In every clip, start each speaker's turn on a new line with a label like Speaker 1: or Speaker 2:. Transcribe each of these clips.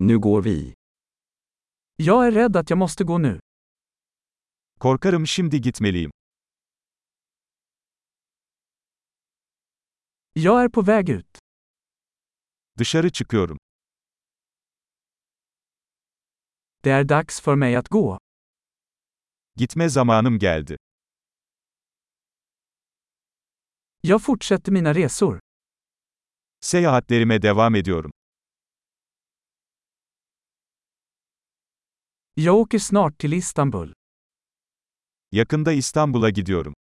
Speaker 1: Nu går vi.
Speaker 2: Jag är rädd att jag måste gå nu.
Speaker 3: Korkarım şimdi gitmeliyim.
Speaker 2: Jag är på väg ut.
Speaker 3: Dışarı çıkıyorum.
Speaker 2: Det är dags för mig att gå.
Speaker 3: Gitme zamanım geldi.
Speaker 2: Jag fortsätter mina resor.
Speaker 3: Seyahatlerime devam ediyorum.
Speaker 2: Jag åker snart till Istanbul.
Speaker 3: Yakında İstanbul'a gidiyorum.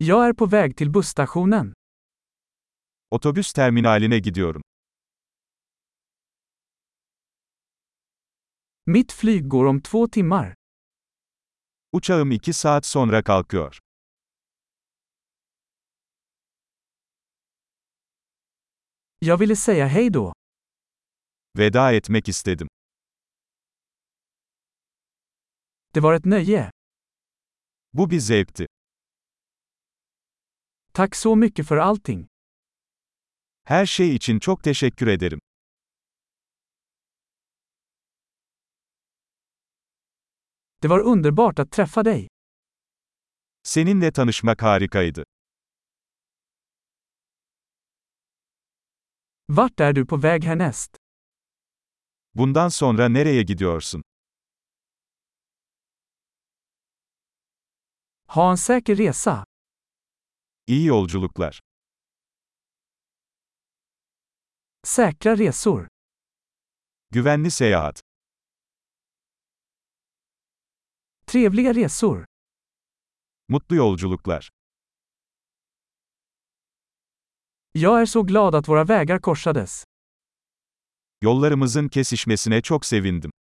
Speaker 2: Jag är på väg till busstationen.
Speaker 3: Otobüs terminaline gidiyorum.
Speaker 2: Mitt flyg går om två timmar.
Speaker 3: Uçağım 2 saat sonra kalkıyor.
Speaker 2: Jag ville säga hej då.
Speaker 3: Veda etmek istedim.
Speaker 2: Det var ett nöje.
Speaker 3: Bu bir zevkti.
Speaker 2: Tack så mycket för allting.
Speaker 3: Her şey için çok teşekkür ederim.
Speaker 2: Det var underbart att träffa dig.
Speaker 3: Seninle tanışmak harikaydı.
Speaker 2: Vart är du på väg härnäst?
Speaker 3: Bundan sonra nereye gidiyorsun?
Speaker 2: Ha en säker resa.
Speaker 3: İyi yolculuklar.
Speaker 2: Säkra resor.
Speaker 3: Güvenli seyahat.
Speaker 2: Trevliga resor.
Speaker 3: Mutlu yolculuklar.
Speaker 2: Jag är så glad att våra vägar korsades.
Speaker 3: Yollarımızın kesişmesine çok sevindim.